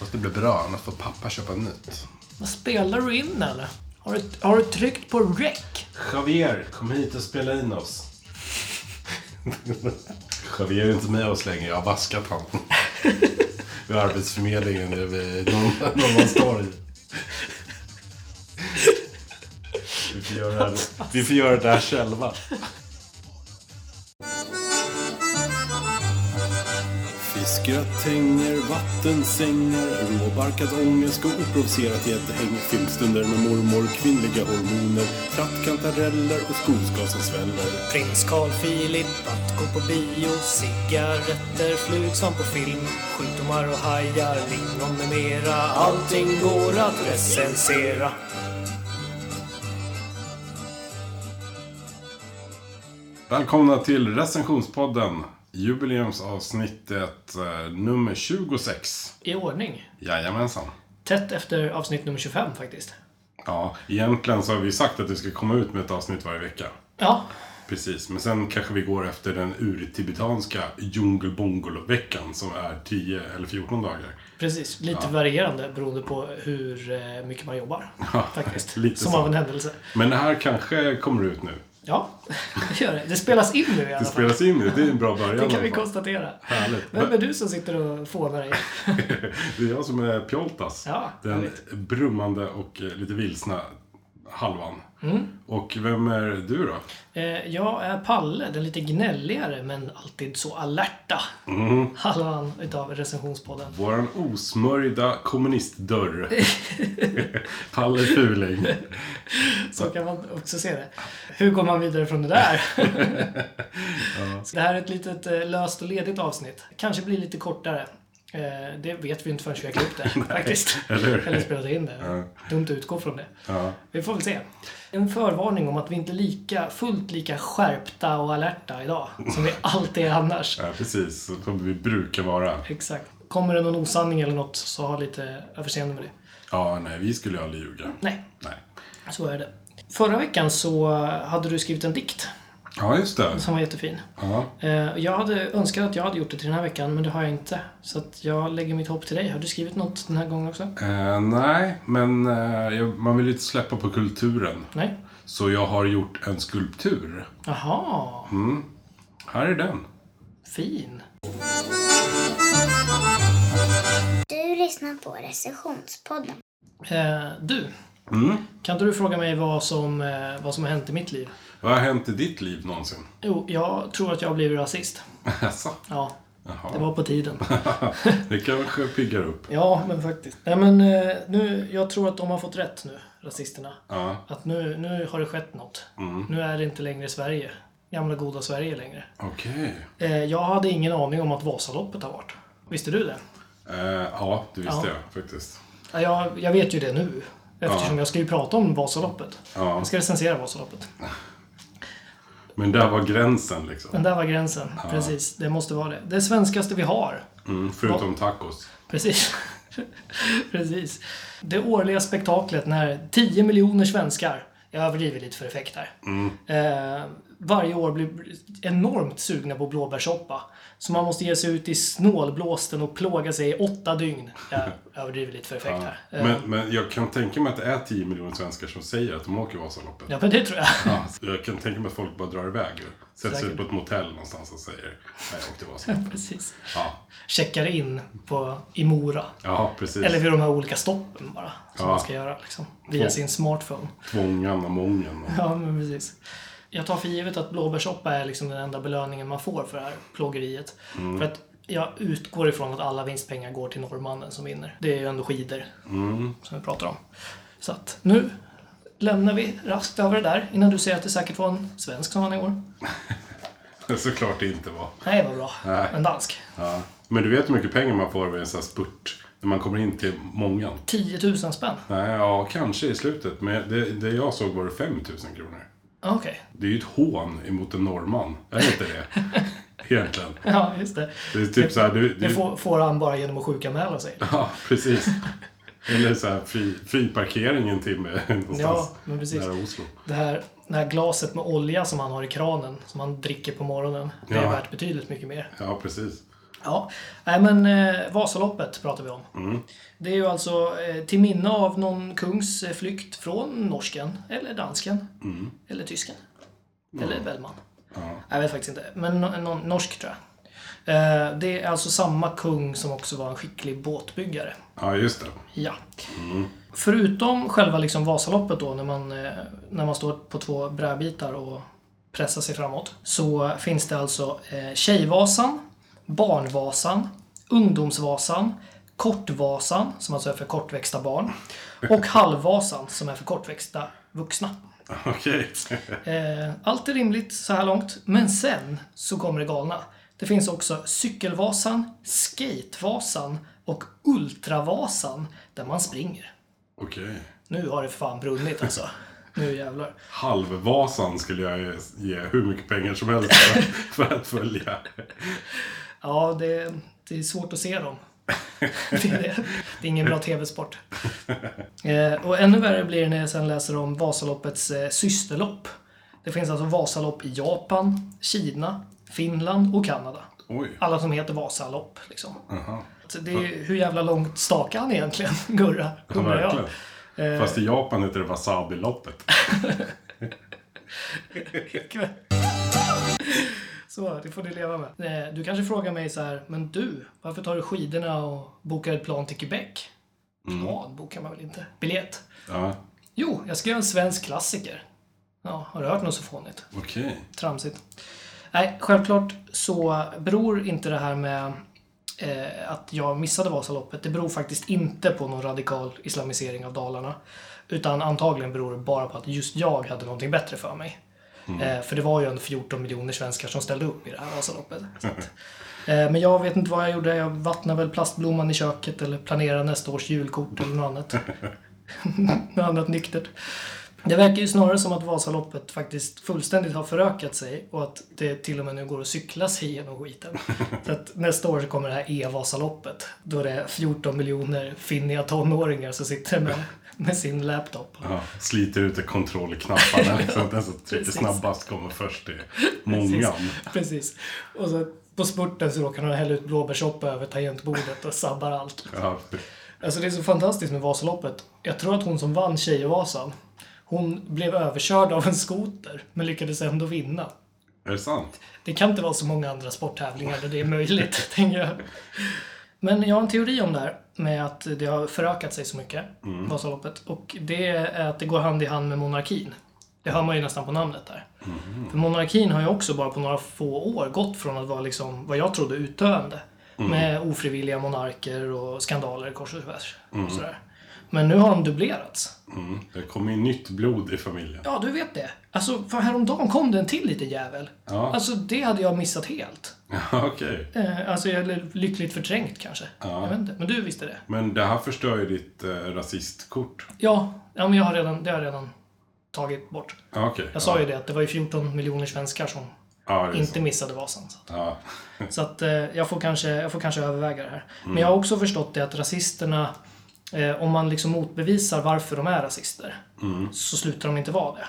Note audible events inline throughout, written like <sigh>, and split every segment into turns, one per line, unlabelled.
måste bli bra, annars får pappa köpa nytt.
Vad spelar du in eller? Har du, har du tryckt på rec?
Javier, kom hit och spela in oss. Javier är inte med oss längre, jag har vaskat han. Vid Arbetsförmedlingen nere vid Norr- Norrmalmstorg. Vi får, göra det här, vi får göra det här själva. Fiskgratänger, vattensängar, råbarkad ångest och oprovocerat gäddhäng. Filmstunder med mormor, kvinnliga hormoner, trattkantareller och skogsgas som sväller.
Prins Carl Philip att gå på bio Cigaretter flug som på film Sjukdomar och hajar, lingon med mera Allting går att recensera
Välkomna till recensionspodden. Jubileumsavsnittet eh, nummer 26.
I ordning.
Jajamensan.
Tätt efter avsnitt nummer 25 faktiskt.
Ja, egentligen så har vi sagt att vi ska komma ut med ett avsnitt varje vecka.
Ja,
Precis, men sen kanske vi går efter den urtibetanska djungelbongolo-veckan som är 10 eller 14 dagar.
precis. Lite varierande beroende på hur eh, mycket man jobbar.
<laughs>
Faktiskt.
lite
som
så.
av en händelse.
Men det här kanske kommer ut nu.
Ja, <laughs> det gör det. Det spelas in nu i alla
Det
fall.
spelas in nu, det är en bra början
<laughs> Det
i alla
kan vi
fall.
konstatera.
Härligt.
Vem är du som sitter och fånar i?
Det är jag som är Pjoltas.
Ja,
den brummande och eh, lite vilsna halvan. Och vem är du då?
Eh, Jag är Palle, den lite gnälligare men alltid så alerta <laughs> halvan utav recensionspodden.
Våran osmörjda kommunistdörr. Palle Fuling.
Så kan man också se det. Hur går man vidare från det där? <laughs> Så Det här är ett litet eh, löst och ledigt avsnitt. Kanske blir lite kortare. Eh, Det vet vi inte förrän vi har klippt det faktiskt.
eller hur?
Eller spelat in det. Dumt att utgå från det.
Ja.
Vi får väl se. En förvarning om att vi inte är lika, fullt lika skärpta och alerta idag som vi alltid är annars.
ja, precis. Som vi brukar vara.
Exakt. Kommer det någon osanning eller något så ha lite överseende med det.
Ja, nej, vi skulle ju aldrig ljuga.
Nej,
Nej.
så är det. Förra veckan så hade du skrivit en dikt
Ja, just det.
som var jättefin.
Ja.
Eh, Jag hade önskat att jag hade gjort det till den här veckan, men det har jag inte. Så att jag lägger mitt hopp till dig. Har du skrivit något den här gången också?
Eh, nej, men eh, jag- man vill ju inte släppa på kulturen.
Nej?
Så jag har gjort en skulptur.
Jaha,
Här är den.
fin.
Du lyssnar på recensionspodden.
Eh, Du,
Mm.
kan inte du fråga mig vad som, eh, vad som har hänt i mitt liv?
Vad har hänt i ditt liv någonsin? <laughs>
Jo, jag tror att jag har blivit rasist.
Jaså?
Ja, det
Jaha. <laughs>
var på tiden.
Det kanske piggar upp.
Ja, men faktiskt. Nej, men eh, nu, jag tror att de har fått rätt nu, rasisterna.
Ja,
Att nu, nu har det skett något. Nu är det inte längre Sverige. Gamla goda Sverige längre.
okej.
Eh, jag hade ingen aning om att Vasaloppet har varit. Visste du det?
Eh, ja, det visste
Ja.
jag faktiskt.
Ja, Jag, jag vet ju det nu. Eftersom jag ska ju prata om Vasaloppet.
Ja.
Jag ska recensera Vasaloppet.
Men där var gränsen liksom.
Men där var gränsen. Precis, det måste vara det. Det svenskaste vi har.
Mm, förutom tacos.
Precis. <laughs> Precis. Det årliga spektaklet när 10 miljoner svenskar, jag överdriver lite för effekt här,
Mm.
eh, varje år blir enormt sugna på blåbärssoppa. Så man måste ge sig ut i snålblåsten och plåga sig i åtta dygn. Jag
<laughs>
överdriver lite för effekt
Ja.
här. Eh,
Men, men jag kan tänka mig att det är 10 miljoner svenskar som säger att de åker Vasaloppet.
Ja, men det tror jag. <laughs>
Ja, så jag kan tänka mig att folk bara drar iväg. Sätter sig
Säkert.
på ett motell någonstans och säger Nej, jag åkte
<laughs>
Vasaloppet.
Precis.
Ja,
Checkar in på, i Mora.
ja precis.
Eller vid de här olika stoppen bara. Som
Ja.
man ska göra liksom. Via sin smartphone.
Tvångan och mången. <laughs> Och...
<laughs> Ja, men precis. Jag tar för givet att blåbärssoppa är liksom den enda belöningen man får för det här plågeriet.
Mm.
För att jag utgår ifrån att alla vinstpengar går till norrmannen som vinner. Det är ju ändå skidor
Mm.
som vi pratar om. Så att nu lämnar vi raskt över det där innan du säger att det säkert var en svensk som vann i år.
Såklart det inte var.
Nej, vad bra.
Nej.
En dansk.
Ja. Men du vet hur mycket pengar man får vid en sån här spurt? När man kommer in till mångan?
10 000 spänn.
Nej, ja, kanske i slutet. Men det, det jag såg var det 5 000 kronor.
Ah, Okej. <laughs>
Det är ju ett hån emot en norrman. Är det inte det? Egentligen.
Ja, just det.
Det är typ så här, du,
Det
du,
får, får han bara genom att sjukanmäla sig.
<laughs> Ja, precis. Eller så här fri, fri parkering en timme <laughs> någonstans.
Ja, men precis.
Nära Oslo.
Det här, det här glaset med olja som han har i kranen, som han dricker på morgonen, det är
Ja.
värt betydligt mycket mer.
Ja, precis.
Ja, nej men eh, Vasaloppet pratar vi om. Det är ju alltså eh, till minne av någon kungs eh, flykt från norsken, eller dansken, eller tysken. Eller Bellman. Jag vet faktiskt inte, men no- någon norsk tror jag. Eh, det är alltså samma kung som också var en skicklig båtbyggare.
Ja, just det. <laughs>
Ja. Förutom själva liksom Vasaloppet då när man, eh, när man står på två brädbitar och pressar sig framåt. Så finns det alltså eh, Tjejvasan, Barnvasan, Ungdomsvasan, Kortvasan som alltså är för kortväxta barn och Halvvasan som är för kortväxta vuxna.
Okej. <laughs>
Eh, allt är rimligt så här långt, men sen så kommer det galna. Det finns också Cykelvasan, Skatevasan och Ultravasan där man springer.
Okej.
Nu har det fan brunnit alltså. Nu jävlar.
Halvvasan skulle jag ge- ge hur mycket pengar som helst
<laughs>
för, för att följa.
Ja, det, det är svårt att se dem. Det är, det. det är ingen bra TV-sport. Eh, och ännu värre blir det när jag sen läser om Vasaloppets eh, systerlopp. Det finns alltså Vasalopp i Japan, Kina, Finland och Kanada.
Oj.
alla som heter Vasalopp. Liksom.
Aha.
Så det är, ju- hur jävla långt stakar han egentligen, <laughs> Gurra?
Ja,
Undrar jag.
verkligen. Fast i Japan heter det wasabi-loppet.
Så, det får ni leva med. Eh, Du kanske frågar mig så här, men du, varför tar du skidorna och bokar ett plan till Quebec? Plan bokar man väl inte? Biljett?
Ja,
Jo, jag ska göra en svensk klassiker. Ja, har du hört något så fånigt?
okej.
tramsigt. Nej, självklart så beror inte det här med eh, att jag missade Vasaloppet, det beror faktiskt inte på någon radikal islamisering av Dalarna. Utan antagligen beror det bara på att just jag hade någonting bättre för mig. Eh, för det var ju en 14 miljoner svenskar som ställde upp i det här Vasaloppet. Så att, eh, men jag vet inte vad jag gjorde, jag vattnade väl plastblomman i köket eller planerade nästa års julkort eller något annat. <laughs> något annat nyktert. Det verkar ju snarare som att Vasaloppet faktiskt fullständigt har förökat sig och att det till och med nu går att cykla sig igenom skiten. Så att nästa år så kommer det här E-Vasaloppet. Då är det 14 miljoner finniga tonåringar som sitter med, med sin laptop.
Ja, sliter ut
<laughs>
kontrollknapparna liksom. Den som trycker
Precis.
snabbast kommer först i många.
Precis. <laughs> Precis. Och så på spurten så råkar han hälla ut blåbärssoppa över tangentbordet och sabbar allt.
Ja,
Alltså det är så fantastiskt med Vasaloppet. Jag tror att hon som vann Tjejvasan, hon blev överkörd av en skoter men lyckades ändå vinna.
är det sant?
Det kan inte vara så många andra sporttävlingar där det är möjligt, <laughs> tänker jag. Men jag har en teori om det här med att det har förökat sig så mycket, Vasaloppet. Och det är att det går hand i hand med monarkin. Det hör man ju nästan på namnet där. För monarkin har ju också bara på några få år gått från att vara liksom, vad jag trodde utdöende. Med ofrivilliga monarker och skandaler kors och tvärs. Och sådär. Men nu har de dubblerats.
Mm. Det kommer ju nytt blod i familjen.
Ja, du vet det. Alltså, för häromdagen kom det en till liten jävel.
Ja.
Alltså, det hade jag missat helt.
<laughs> Ja, okej.
Eh, alltså, eller lyckligt förträngt kanske. Jag vet inte. Men du visste det?
Men det här förstör ju ditt eh, rasistkort.
Ja, ja men jag har redan, det har jag redan tagit bort.
Ja, okej.
Jag sa ju det att det var ju 14 miljoner svenskar som
ja, det är
inte
sant.
missade Vasan. Så,
Ja. Mm.
att, så att, eh, jag, får kanske, jag får kanske överväga det här. Men jag har också förstått det att rasisterna, eh, om man liksom motbevisar varför de är rasister,
Mm.
så slutar de inte vara det.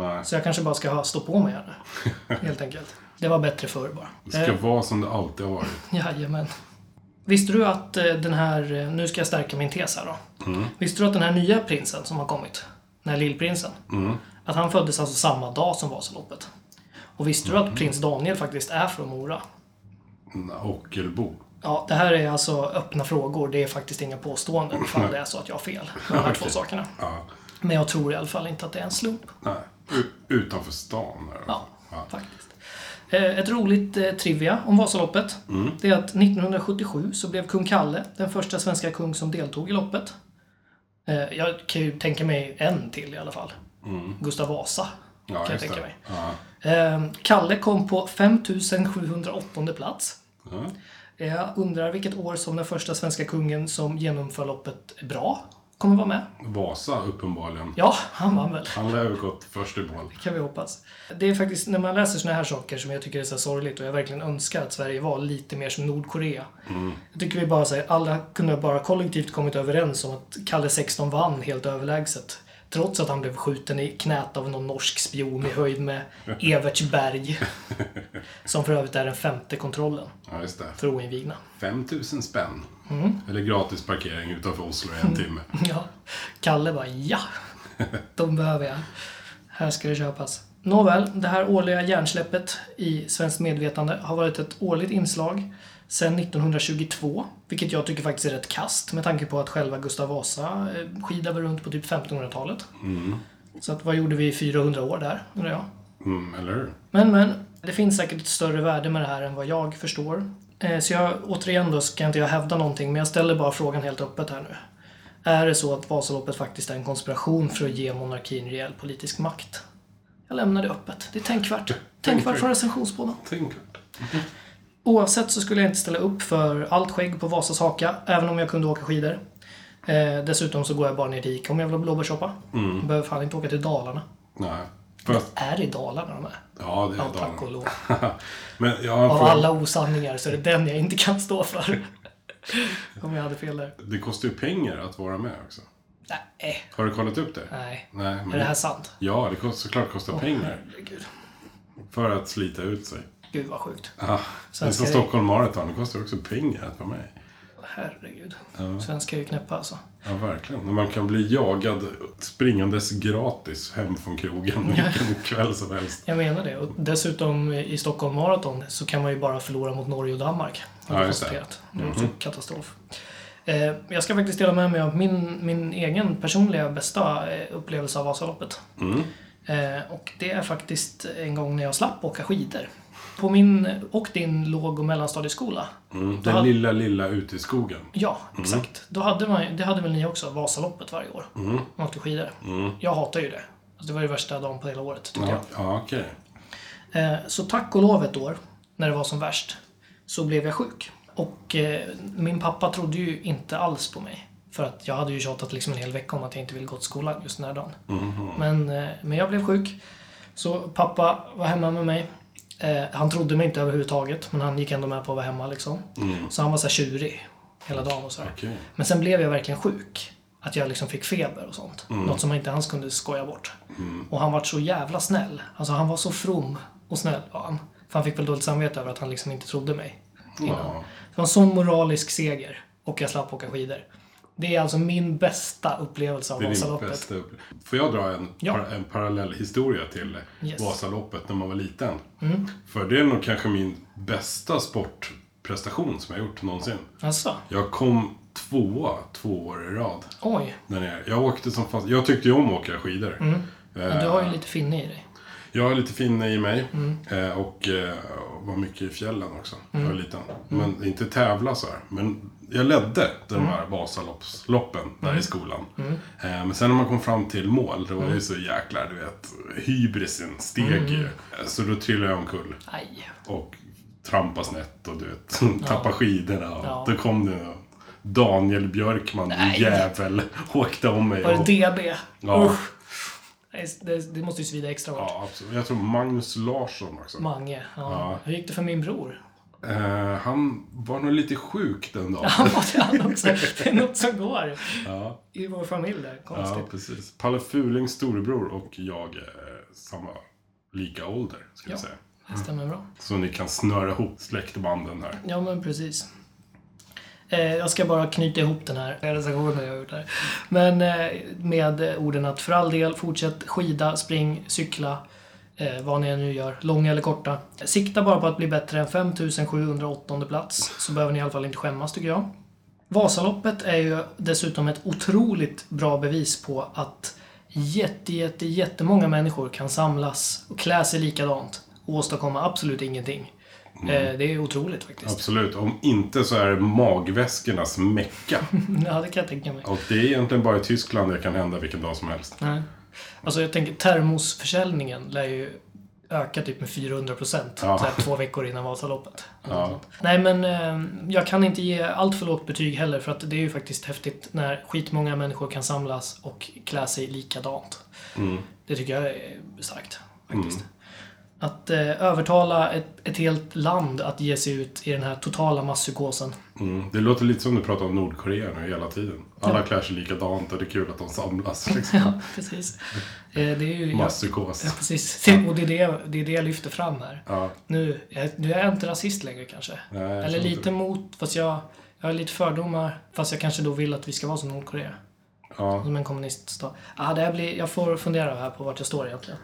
Nej.
Så jag kanske bara ska ha- stå på mig här nu.
<laughs>
Helt enkelt. Det var bättre förr bara.
Det ska vara som det alltid har varit.
Jajamän. Visste du att eh, den här, eh, nu ska jag stärka min tes här då. Visste du att den här nya prinsen som har kommit, den här lillprinsen, att han föddes alltså samma dag som Vasaloppet. Och visste du att prins Daniel faktiskt är från Mora?
En Ockelbo.
Ja, det här är alltså öppna frågor, det är faktiskt inga påståenden ifall det är så att jag har fel med de här två sakerna.
Ja.
Men jag tror i alla fall inte att det är en slump.
Nej. U- utanför stan. Här.
Ja,
Ja.
faktiskt. Eh, Ett roligt eh, trivia om Vasaloppet.
Mm.
Det är att 1977 så blev kung Kalle den första svenska kung som deltog i loppet. Eh, Jag kan ju tänka mig en till i alla fall.
Mm.
Gustav Vasa.
Ja,
kan jag
just
tänka
det.
mig.
Ja.
Eh, Kalle kom på 5708 plats.
Ja.
Eh, Jag undrar vilket år som den första svenska kungen som genomför loppet bra kommer vara med.
Vasa uppenbarligen.
Ja, han vann väl.
Han lär ju gått först i mål.
kan vi hoppas. Det är faktiskt när man läser såna här saker som jag tycker är så här sorgligt och jag verkligen önskar att Sverige var lite mer som Nordkorea. Jag tycker vi bara säger alla kunde bara kollektivt kommit överens om att Kalle 16 vann helt överlägset. Trots att han blev skjuten i knät av någon norsk spion i höjd med Evertsberg. Som för övrigt är den femte kontrollen
Ja, just det.
för oinvigna.
5000 spänn.
Mm.
Eller gratis parkering utanför Oslo i en timme.
<laughs> Ja. Kalle bara ja, de behöver jag. Här ska det köpas. Nåväl, det här årliga hjärnsläppet i Svenskt medvetande har varit ett årligt inslag sedan 1922, vilket jag tycker faktiskt är rätt kast med tanke på att själva Gustav Vasa eh, skidade runt på typ 1500-talet. Så att, vad gjorde vi i 400 år där, undrar jag?
Mm, eller hur?
Men, men. Det finns säkert ett större värde med det här än vad jag förstår. Eh, Så jag, återigen då, ska inte jag hävda någonting, men jag ställer bara frågan helt öppet här nu. Är det så att Vasaloppet faktiskt är en konspiration för att ge monarkin rejäl politisk makt? Jag lämnar det öppet. Det är tänkvärt. Tänkvärt från recensionspodden.
Tänk.
Oavsett så skulle jag inte ställa upp för allt skägg på Vasas haka, även om jag kunde åka skidor. Eh, dessutom så går jag bara ner till Ica om jag vill ha blåbärssoppa. Jag behöver fan inte åka till Dalarna.
Nej. Fast,
Är det i Dalarna de är?
ja, det
Ja,
är
tack
dagen.
och lov.
<laughs> Men jag har en
Av
fråga.
alla osanningar så är det den jag inte kan stå för. <laughs> Om jag hade fel där.
Det kostar ju pengar att vara med också.
Nej. eh,
Har du kollat upp det?
Nej.
Nej men...
Eh, Är det här sant?
Ja, det kostar, såklart kostar pengar.
Herregud.
För att slita ut sig.
Gud vad sjukt.
Ah, det är
Svenska
som Stockholm Marathon, det kostar också pengar att vara med.
Herregud. Svenskar är ju knäppa alltså.
Ja, verkligen. När man kan bli jagad springandes gratis hem från krogen
<laughs>
vilken kväll som helst.
Jag menar det. Och dessutom eh, i Stockholm Marathon så kan man ju bara förlora mot Norge och Danmark. Har
Ja,
jag
just det. Mhm.
konstaterat. Det är också katastrof. Eh, Jag ska faktiskt dela med mig av min, min egen personliga bästa eh, upplevelse av Vasaloppet.
Mm.
Eh, Och det är faktiskt en gång när jag slapp åka skidor. På min och din låg och mellanstadieskola.
Mm. Den lilla, lilla ute i skogen.
Ja, exakt. Då hade man, det hade väl ni också, Vasaloppet varje år.
Mm.
Man åkte skidor. Jag hatar ju det. Alltså, det var ju värsta dagen på hela året, tyckte jag.
Ja, ja okej.
Eh, Så tack och lov ett år, när det var som värst, så blev jag sjuk. Och eh, min pappa trodde ju inte alls på mig. För att jag hade ju tjatat liksom en hel vecka om att jag inte ville gå till skolan just den här dagen. Men, eh, men jag blev sjuk. Så pappa var hemma med mig. Eh, han trodde mig inte överhuvudtaget, men han gick ändå med på att vara hemma liksom. Så han var så här tjurig hela dagen och sådär.
Okej.
Men sen blev jag verkligen sjuk. Att jag liksom fick feber och sånt.
Mm.
Något som man inte alls kunde skoja bort. Och han var så jävla snäll. Alltså han var så from och snäll var han. För han fick väl dåligt samvete över att han liksom inte trodde mig.
Ja.
Det var en sån moralisk seger. Och jag slapp åka skidor. Det är alltså min bästa upplevelse av
Det är din
Vasaloppet.
bästa upplevelse. Får jag dra en,
Ja.
par, en parallell historia till
Yes. Mm.
Vasaloppet när man var liten? För det är nog kanske min bästa sportprestation som jag gjort någonsin.
Alltså,
Jag kom tvåa två år i rad.
oj.
Där nere. Jag åkte som fast, Jag tyckte ju om att åka skidor.
Mm. Men du har ju lite finne i dig.
Jag är lite finne i mig
Mm.
eh, och eh, var mycket i fjällen också. Jag
Mm.
var liten. Men inte tävla så här. Men jag ledde de
Mm.
här Vasaloppsloppen där i skolan. Eh, men sen när man kom fram till mål, då var
Mm.
jag ju så jäklar, du vet, hybrisen steg ju. Eh, Så då trillade jag omkull
Aj.
och trampade snett och du vet, <laughs> tappade skidorna. Och
Ja.
Då kom det någon Daniel Björkman,
Nej.
din jävel, <laughs> åkte om mig.
Var det
och-
DB?
Ja.
Usch. Nej, Det, det måste ju svida extra hårt.
Ja, absolut. Jag tror Magnus Larsson också.
Mange. Ja. Hur gick det för min bror? <laughs>
Eh, han var nog lite sjuk den dagen.
Han var det han också. Det är något som går
Ja,
i vår familj där.
ja
Konstigt.
precis. Palle Fulings storebror och jag är samma, lika ålder, ska jag
Ja.
säga.
Det stämmer bra.
Så ni kan snöra ihop släktbanden här.
Ja, men precis. Eh, jag ska bara knyta ihop den här recensionen jag har gjort här. Men eh, med eh, orden att för all del, fortsätt skida, spring, cykla, eh, vad ni nu gör, långa eller korta. Sikta bara på att bli bättre än 5708 plats, så behöver ni i alla fall inte skämmas tycker jag. Vasaloppet är ju dessutom ett otroligt bra bevis på att jätte, jätte, jättemånga människor kan samlas och klä sig likadant och åstadkomma absolut ingenting. Eh, det är otroligt faktiskt.
Absolut. Om inte så är det magväskornas
<laughs>
mecka.
Ja, det kan jag tänka mig.
Och det är egentligen bara i Tyskland det kan hända vilken dag som helst.
Nej. Alltså jag tänker termosförsäljningen lär ju öka typ med 400 procent
Ja.
två veckor innan Vasaloppet.
Ja.
Nej men eh, jag kan inte ge allt för lågt betyg heller för att det är ju faktiskt häftigt när skitmånga människor kan samlas
Mm.
och klä sig likadant. Det tycker jag är starkt faktiskt. Att eh, övertala ett, ett helt land att ge sig ut i den här totala masspsykosen.
Mm. Det låter lite som du pratar om Nordkorea nu hela tiden. Alla klär sig likadant och det är kul att de
<laughs>
samlas. Liksom.
Ja, precis. Eh, det är ju...
Masspsykos.
Ja, precis. Det- Och det är det, det är det jag lyfter fram här.
Ja.
Nu, jag, nu är jag inte rasist längre kanske.
Nej, jag
Eller
tror inte
lite mot, fast jag, jag har lite fördomar. Fast jag kanske då vill att vi ska vara som Nordkorea.
Ja.
Som en kommuniststat. Ah, det här blir, jag får fundera här på vart jag
<laughs>
står egentligen.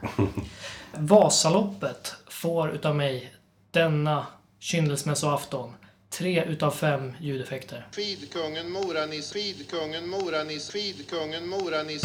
Vasaloppet får utav mig denna kyndelsmässoafton tre utav fem ljudeffekter.
Skidkungen Moranis, skidkungen Moranis, skidkungen Moranis.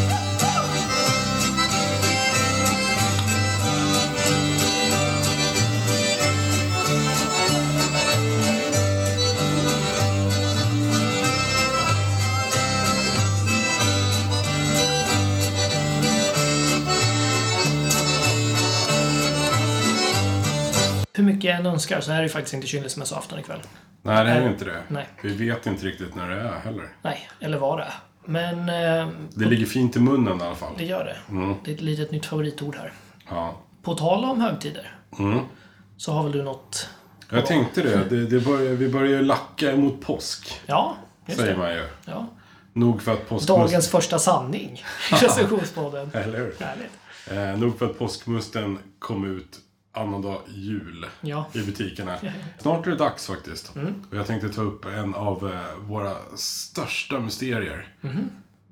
Hur mycket jag än önskar så är det ju faktiskt inte kyndelsmässoafton ikväll.
Nej, det är ju inte det.
Äh, Nej.
Vi vet inte riktigt när det är heller.
Nej, eller var det. är. Men eh,
Det ligger fint i munnen i alla
det
fall.
gör det.
Mm.
Det är ett litet nytt favoritord här.
Ja.
På tal om högtider. Så har väl du något...
Jag tänkte det. det, det börjar, vi börjar ju lacka emot påsk.
Ja, just
Säger
det.
man ju.
Ja.
Nog för att påskmusten...
Dagens första <laughs> sanning i recensionspodden.
Eller hur?
Härligt.
Eh, nog för att påskmusten kom ut annandag jul
Ja. Mm.
i butikerna. Snart är det dags faktiskt. Och jag tänkte ta upp en av eh, våra största mysterier.
Mhm.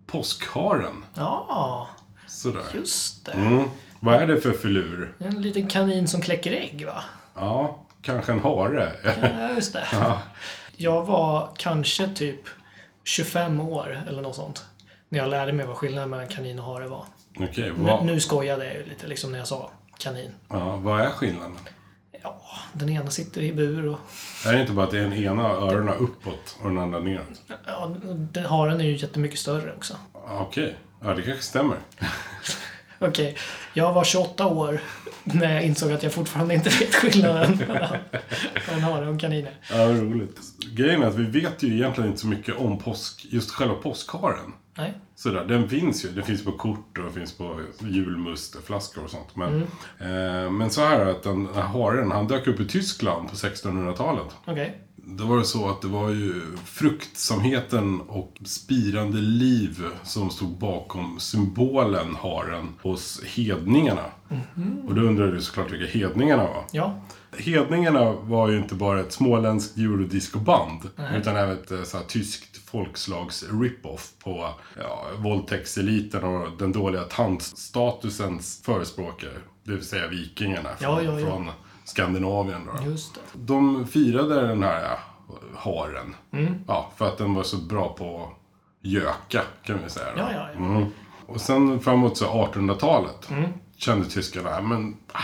Påskharen.
Ja,
Sådär.
just det.
Mm. Vad är det för filur?
En liten kanin som kläcker ägg, va?
Ja, kanske en hare. <laughs>
Ja, just det. Jag var kanske typ 25 år eller något sånt. När jag lärde mig vad skillnaden mellan kanin och hare var.
Okej,
Nu,
vad,
nu skojade jag ju lite liksom när jag sa kanin.
ja, vad är skillnaden?
Ja, den ena sitter i bur och
Är det inte bara att den ena öronen uppåt och den andra neråt?
ja, den, haren är ju jättemycket större också.
Ah, Okej, ja det kanske stämmer.
Okej, jag var 28 år när jag insåg att jag fortfarande inte vet skillnaden mellan mellan hare och kaniner.
Ja, vad roligt. Grejen är att vi vet ju egentligen inte så mycket om påsk, just själva påskharen.
Nej,
Sådär, den finns ju. Den finns på kort och den finns på julmustflaskor och sånt. Men, eh, men så här är det att den den här haren, han dök upp i Tyskland på 1600-talet.
okej.
Då var det så att det var ju fruktsamheten och spirande liv som stod bakom symbolen haren hos hedningarna.
Mhm.
Och då undrar du såklart vilka hedningarna var.
Ja,
Hedningarna var ju inte bara ett småländskt eurodiscoband utan även ett eh, så här, tyskt folkslags rip-off på ja, våldtäktseliten och den dåliga tantstatusens förespråkare. Det vill säga vikingarna från,
Ja, ja, ja.
från Skandinavien. Då.
just det.
De firade den här ja, haren
Mm.
ja, för att den var så bra på att göka kan vi säga. Då.
Ja, ja, ja.
Mm. Och sen framåt så 1800-talet
Mm.
kände tyskarna, "Ah, men ah,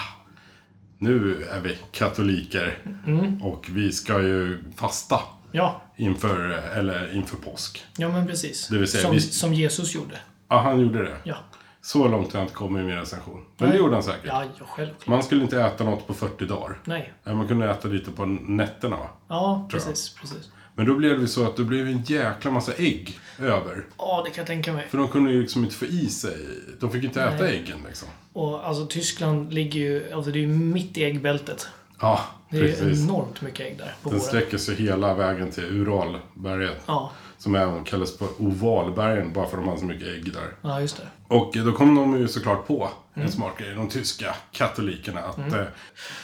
nu är vi katoliker
Mm.
och vi ska ju fasta
Ja,
inför, eller inför påsk.
ja men precis.
Det vill säga,
som,
vi-
som Jesus gjorde.
Ja, han gjorde det.
Ja,
Så långt har jag inte kommit i min recension. Men det gjorde han säkert.
ja ja, självklart.
Man skulle inte äta något på 40 dagar.
Nej.
Nej, Man kunde äta lite på nätterna. va?
Ja, precis. precis.
Men då blev det så att det blev en jäkla massa ägg över.
Ja, det kan jag tänka mig.
För de kunde ju liksom inte få i sig. De fick inte äta äggen liksom.
Och alltså Tyskland ligger ju, alltså det är ju mitt i äggbältet.
Ja,
Det är ju
precis.
enormt mycket ägg där på
Den
våren.
sträcker sig hela vägen till Uralberget.
Ja,
Som även kallas för ovalbergen, bara för att de har så mycket ägg där.
ja, just det.
Och då kom de ju såklart på en smart grej, de tyska katolikerna. Att eh,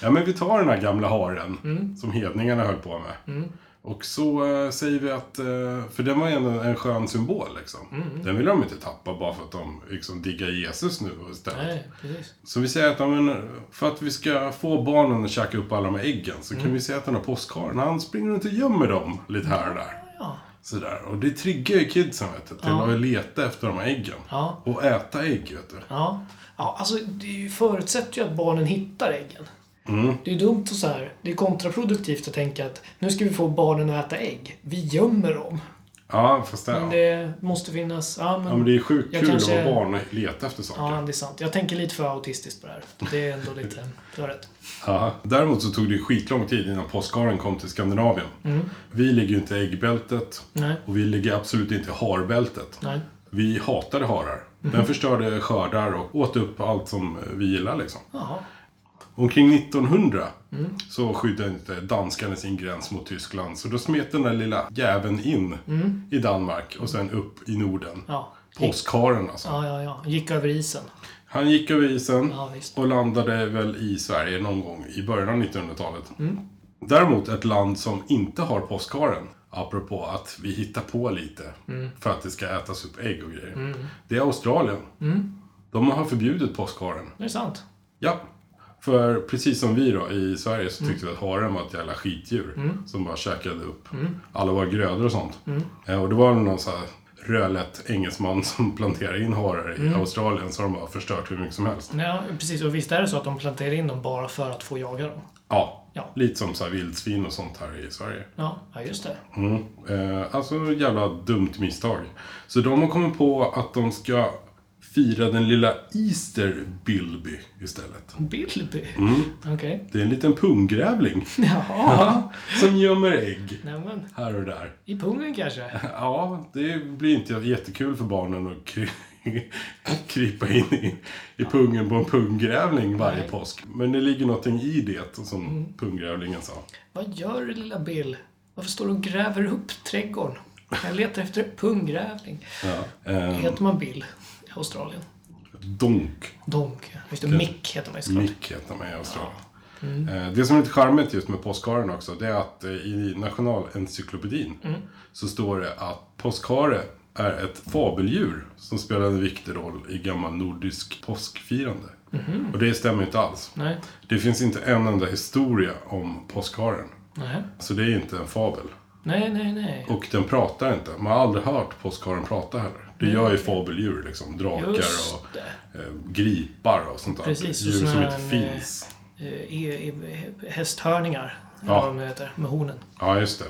ja, men vi tar den här gamla haren som hedningarna höll på med. Och så eh, säger vi att, eh, för den var ju en, en skön symbol liksom. Den vill de inte tappa bara för att de liksom diggar Jesus nu istället.
Nej, precis.
Så vi säger att ja, men, för att vi ska få barnen att käka upp alla de här äggen så
Mm.
kan vi säga att den här påskharen, han springer runt och gömmer dem lite här och där.
Ja,
Sådär. Och det triggar ju kidsen vet du, till att leta efter de här äggen.
Ja.
Och äta ägg vet du.
ja. Ja, alltså det är ju- förutsätter ju att barnen hittar äggen. Det är ju dumt och så här. Det är kontraproduktivt att tänka att nu ska vi få barnen att äta ägg. Vi gömmer dem.
Ja, fast det,
Men
ja.
det måste finnas... Ja, men,
Ja, men det är sjukt
jag
kul
kanske-
att vara barn och leta efter saker.
Ja,
Ja.
det är sant. Jag tänker lite för autistiskt på det här. Det är ändå lite... Du har rätt.
Däremot så tog det ju skitlång tid innan påskharen kom till Skandinavien. Vi ligger ju inte i äggbältet.
Mm. Nej.
Och vi ligger absolut inte i harbältet.
Nej.
Vi hatade harar. Den förstörde skördar och åt upp allt som vi gillar liksom.
Jaha.
Omkring 1900 så skyddade inte danskarna sin gräns mot Tyskland. Så då smet den där lilla jäveln in i Danmark och sen upp i Norden.
Ja. Gick,
Påskharen alltså.
ja, ja, ja. Gick över isen.
Han gick över isen
Ja, visst.
och landade väl i Sverige någon gång i början av 1900-talet.
Mm.
Däremot ett land som inte har påskharen, apropå att vi hittar på lite
Mm.
för att det ska ätas upp ägg och grejer. Det är Australien.
Mm.
De har förbjudit påskharen.
Det är sant.
Ja. För precis som vi då i Sverige så tyckte vi att haren var ett jävla skitdjur som bara käkade upp alla våra grödor och sånt. Eh, Och det var någon så här rödlätt engelsman <laughs> som planterade in harar i Australien så har de bara förstört hur mycket som helst.
Ja, precis. Och visst är det så att de planterar in dem bara för att få jaga dem?
Ja,
Ja.
lite som så här vildsvin och sånt här i Sverige.
Ja, ja just det.
Mm. Eh, alltså jävla dumt misstag. Så de har kommit på att de ska fira den lilla Easter Bilby istället.
Bilby? Okej.
Det är en liten punggrävling
<laughs> Jaha.
som gömmer ägg.
Nej, men,
Här och där.
I pungen kanske?
Ja, det blir inte jättekul för barnen att kry- <laughs> krypa in i, i pungen på en punggrävling varje
Nej.
påsk. Men det ligger någonting i det, som punggrävlingen sa.
Vad gör du lilla Bill? Varför står du och gräver upp trädgården? Jag letar efter en punggrävling.
Ja. Eh,
Heter man Bill i Australien?
donk.
Donk. Just det, Mick heter man ju såklart.
Mick heter man i Australien. Eh, Det som är lite charmigt just med påskharen också, det är att eh, i Nationalencyklopedin så står det att påskhare är ett fabeldjur som spelar en viktig roll i gammal nordisk påskfirande. Och det stämmer inte alls.
Nej.
Det finns inte en enda historia om påskharen.
Nej.
Så det är inte en fabel.
Nej, nej, nej.
Och den pratar inte. Man har aldrig hört påskharen prata heller. Det gör ju fabeldjur liksom. Drakar
Just
och
det.
eh, gripar och sånt där.
Precis, och
Djur som
såna
inte
här, eh,
finns.
Eh, e- e- Hästhörningar. eller
Ja.
Vad de nu heter. Med hornen. <laughs>
Ja, just det.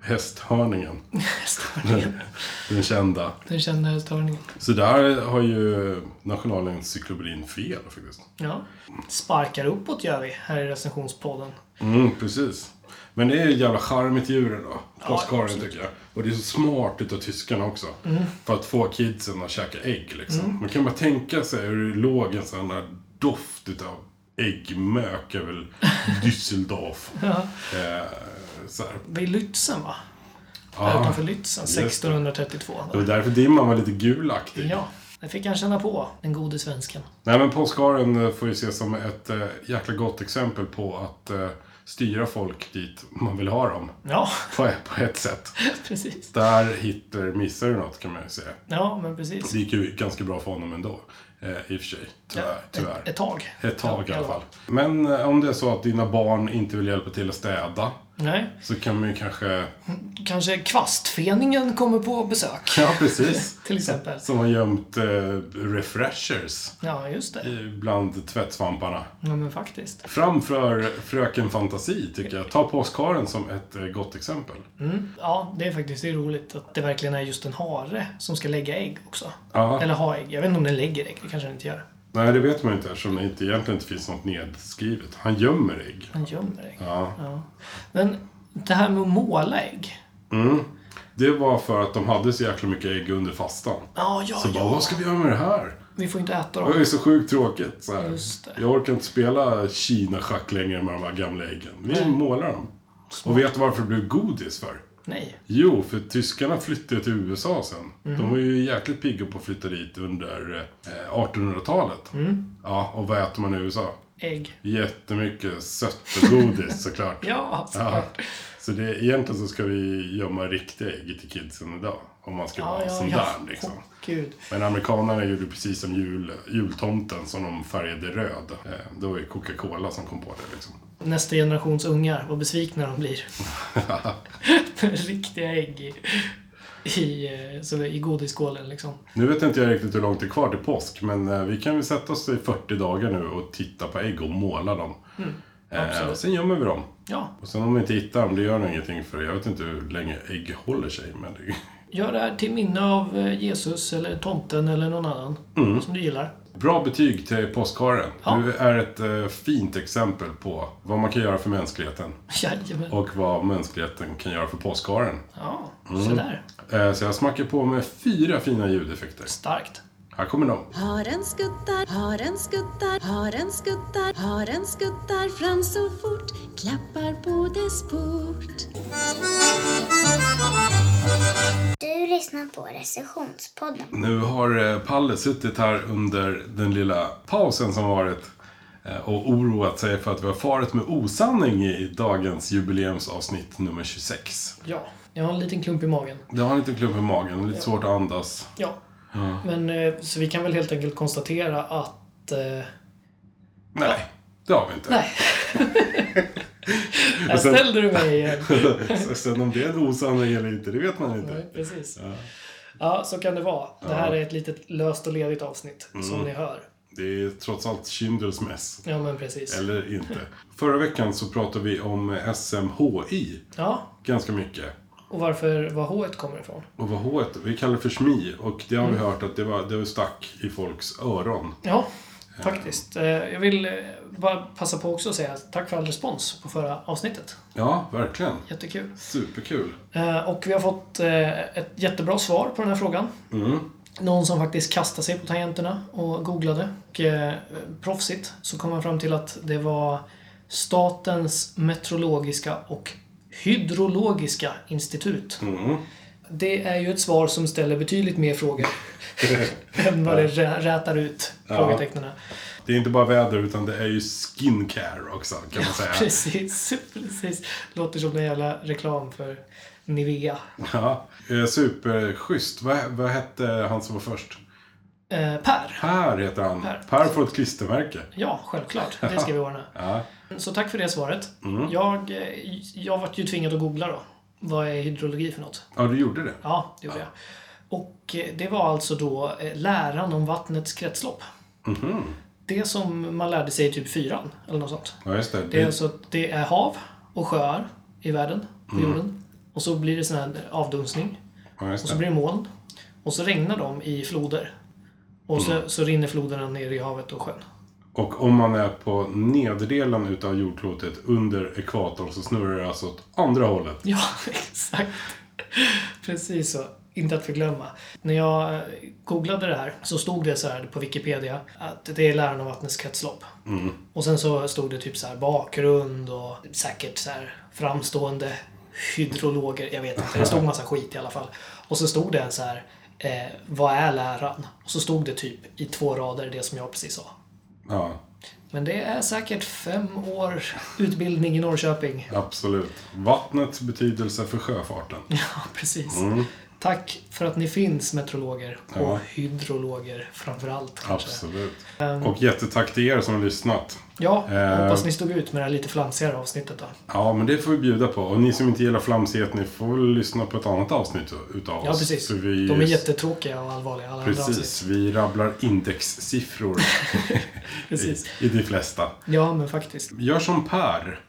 Hästhörningen.
Hästhörningen.
Den kända.
Den kända hästhörningen.
Så där har ju Nationalencyklopedin fel faktiskt.
Ja. Sparkar uppåt gör vi här i recensionspodden.
Mm, precis. Men det är ju jävla charm i djuren då. Påskharen tycker jag. Och det är så smart utav tyskarna också.
Mm.
För att få kidsen att käka ägg liksom. Man kan bara tänka sig hur det låg en sån där doft utav äggmök
<laughs>
över Düsseldorf.
Ja.
eh, så här.
Vid Lützen va? Där
Ah,
utanför Lützen.
det.
1632.
det var därför dimman var lite gulaktig.
Ja. Det fick han känna på, den gode svensken.
Nej men påskharen eh, får ju ses som ett eh, jäkla gott exempel på att eh, styra folk dit man vill ha dem.
Ja,
På ett, på ett sätt.
<laughs> precis.
Där hittar missar du något kan man ju säga.
Ja, men precis.
Det gick ju ganska bra för honom ändå. Eh, I och för sig. Tyvärr. tyvärr.
Ett, ett tag.
Ett tag i
Ja,
alla fall. Men eh, om det är så att dina barn inte vill hjälpa till att städa.
Nej,
Så kan man ju kanske... <laughs>
kanske kvastfeningen kommer på besök. <laughs>
Ja, precis.
Till exempel.
Som har gömt eh, refreshers
Ja, just det.
i- bland tvättsvamparna.
Ja, men faktiskt.
Framför Fröken Fantasi tycker jag. Ta påskharen som ett eh, gott exempel.
Mm. Ja, det är faktiskt det är roligt att det verkligen är just en hare som ska lägga ägg också.
Ja.
Eller ha ägg. Jag vet inte om den lägger ägg. Det kanske den inte gör.
Nej, det vet man ju inte eftersom det inte, egentligen inte finns något nedskrivet. Han gömmer ägg.
Den gömmer ägg.
Ja.
Men det här med att måla ägg.
Det var för att de hade så jäkla mycket ägg under fastan.
Ja, ja,
Så bara,
ja.
vad ska vi göra med det här?
Vi får inte äta
Det är
dem.
ju så sjukt tråkigt. Så här.
Just det.
Jag orkar inte spela Kina-schack längre med de här gamla äggen. Vi målar dem. Och vet du varför det blev godis för?
Nej.
Jo, för tyskarna flyttade till USA sen.
Mhm.
De var ju jäkligt pigga på att flytta dit under eh, 1800-talet.
Mm.
Ja, och vad äter man i USA?
Ägg.
Jättemycket söttegodis såklart.
Ja,
Ja.
såklart.
Så det, egentligen så ska vi gömma riktiga ägg till kidsen idag. Om man ska vara sån där liksom.
Åh, Gud.
Men amerikanerna gjorde precis som jul, jultomten som de färgade röd. Eh, Det var ju Coca-Cola som kom på det liksom.
Nästa generations ungar, vad besvikna de <laughs> blir. Med Riktiga ägg i, i, eh, som är i godisskålen liksom.
Nu vet inte jag riktigt hur långt det är kvar till påsk, men eh, vi kan väl sätta oss i 40 dagar nu och titta på ägg och måla dem. eh, och sen gömmer vi dem.
Ja,
Och sen om vi inte hittar dem, det gör nog ingenting för jag vet inte hur länge ägg håller sig. Men det...
gör det här till minne av eh, Jesus eller tomten eller någon annan som du gillar. <laughs>
Bra betyg till påskharen.
Ja.
Du är ett eh, fint exempel på vad man kan göra för mänskligheten
Jajamän.
och vad mänskligheten kan göra för påskharen.
Ja, sådär.
Eh, Så jag smackar på med fyra fina ljudeffekter.
Starkt.
Här kommer de.
Haren skuttar, haren skuttar, haren skuttar, haren skuttar fram så fort, klappar på dess port.
Du lyssnar på recessionspodden.
Nu har eh, Palle suttit här under den lilla pausen som varit eh, och oroat sig för att vi har farit med osanning i dagens jubileumsavsnitt nummer 26.
Ja, jag har en liten klump i magen.
Det har en liten klump i magen, lite svårt att andas.
Ja. Men, eh, så vi kan väl helt enkelt konstatera att... <laughs> Eh,
Nej, det har vi inte.
nej. Här
sen-
ställde du mig igen. <laughs>
<laughs> Så Sen om det är en osanning eller inte, det vet man
Nej,
inte.
precis. Ja. så kan det vara. Det här är ett litet löst och ledigt avsnitt, som ni hör.
Det är trots allt Kindles mess.
Ja, men precis.
Eller inte. Förra veckan så pratade vi om eh, SMHI
Ja,
ganska mycket.
och varför, var H1 kommer ifrån.
Och vad H vi kallar det för SMI och det har
Mm.
vi hört att det, var, det stack i folks öron.
Ja, faktiskt. Eh, Jag vill eh, bara passa på också att säga tack för all respons på förra avsnittet.
Ja, verkligen.
Jättekul.
Superkul.
Eh, Och vi har fått eh, ett jättebra svar på den här frågan. Någon som faktiskt kastade sig på tangenterna och googlade. Och, eh, proffsigt så kom man fram till att det var Statens meteorologiska och hydrologiska institut. Det är ju ett svar som ställer betydligt mer frågor än vad det rä- rätar ut frågetecknen.
Det är inte bara väder utan det är ju skincare också kan man säga.
Precis, <laughs> precis. Låter som en jävla reklam för Nivea.
Ja, eh, superschysst. Vad, vad hette han som var först?
Eh, per.
Per heter han. Per,
Per.
får ett klistermärke.
Ja, självklart. Det ska vi ordna. Så tack för det svaret. Jag, eh, jag vart ju tvingad att googla då. Vad är hydrologi för något?
Ja, du gjorde det.
Ja, det gjorde jag. Och eh, det var alltså då eh, läran om vattnets kretslopp. Det som man lärde sig i typ fyran, eller något sånt.
Ja, just det.
Det är
det
alltså att det är hav och sjöar i världen, på jorden. Och så blir det sån här avdunstning.
ja, just
Och så
det.
blir det moln. Och så regnar de i floder. Och så, så rinner floderna ner i havet och sjön.
Och om man är på nederdelen utav jordklotet under ekvatorn så snurrar det alltså åt andra hållet.
<laughs> Ja, exakt. Precis så. Inte att förglömma. När jag eh, googlade det här så stod det så här på Wikipedia att det är läran om vattnets kretslopp. Och sen så stod det typ så här bakgrund och säkert så här framstående hydrologer. Jag vet inte. Det stod massa skit i alla fall. Och så stod det en så här eh, vad är läran? Och så stod det typ i två rader det som jag precis sa.
Ja,
Men det är säkert fem år utbildning i Norrköping.
absolut. Vattnets betydelse för sjöfarten.
<laughs> Ja, precis. Tack för att ni finns, meteorologer och
Mm. Ja.
hydrologer framför allt. Kanske.
Absolut.
Ehm.
Och jättetack till er som har lyssnat.
Ja, jag
Eh.
hoppas ni stod ut med det här lite flamsigare avsnittet då.
Ja, men det får vi bjuda på. Och ni som inte gillar flamsighet, ni får väl lyssna på ett annat avsnitt utav oss.
Ja, precis.
För vi...
De är jättetråkiga och allvarliga, alla andra avsnitt.
Precis, vi rabblar indexsiffror i,
<laughs> Precis.
i de flesta.
Ja, men faktiskt.
Gör som Per,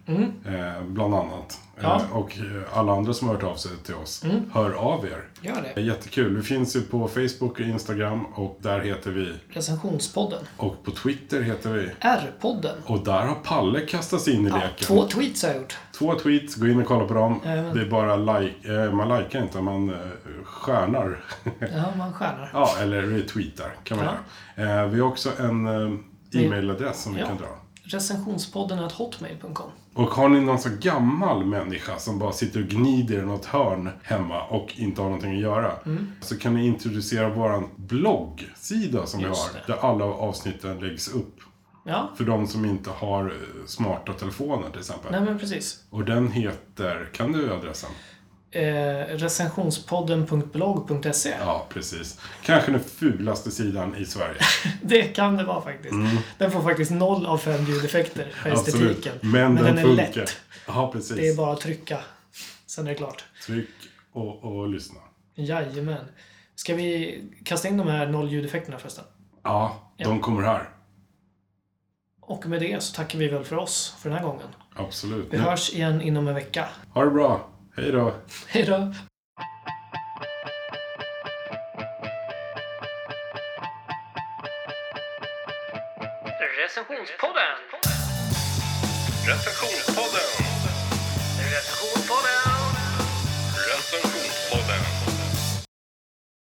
eh, bland annat.
Mm. Ja. Mm.
Eh, och eh, alla andra som har hört av sig till oss. Hör av er.
Gör
Det
det.
är jättekul. Vi finns ju på Facebook och Instagram och där heter vi.
Recensionspodden.
Och på Twitter heter vi.
R-podden.
Och där har Palle kastats in i
Ja,
leken.
två tweets har jag gjort.
Två tweets, gå in och kolla på dem.
Jajamän.
Det är bara like, eh, man likar inte, man eh, stjärnar. <laughs>
Ja, man stjärnar.
ja, eller retweetar kan man
Ja.
göra. Eh, vi har också en eh, e-mailadress som vi
Ja.
kan dra.
Recensionspodden är hotmail.com.
Och har ni någon så gammal människa som bara sitter och gnider i något hörn hemma och inte har någonting att göra.
Mm.
Så kan ni introducera vår bloggsida som
Just
vi har.
det.
Där alla avsnitten läggs upp.
Ja,
För de som inte har eh, smarta telefoner till exempel.
nej men precis.
Och den heter, kan du adressen?
Eh, recensionspodden.blog.se.
Ja, precis. Kanske den fulaste sidan i
<laughs>
Sverige.
Det kan det vara faktiskt.
Mm.
Den får faktiskt noll av fem ljudeffekter för estetiken.
Men, den,
är
funkar.
lätt.
Ja, precis.
Det är bara att trycka. Sen är det klart.
Tryck och, och lyssna.
Jajamän. Ska vi kasta in de här noll ljudeffekterna förresten?
Ja, de kommer här.
Och med det så tackar vi väl för oss för den här gången.
Absolut.
Vi
Nu.
hörs igen inom en vecka.
Ha det bra. Hej då.
Hej då!
Recensionspodden!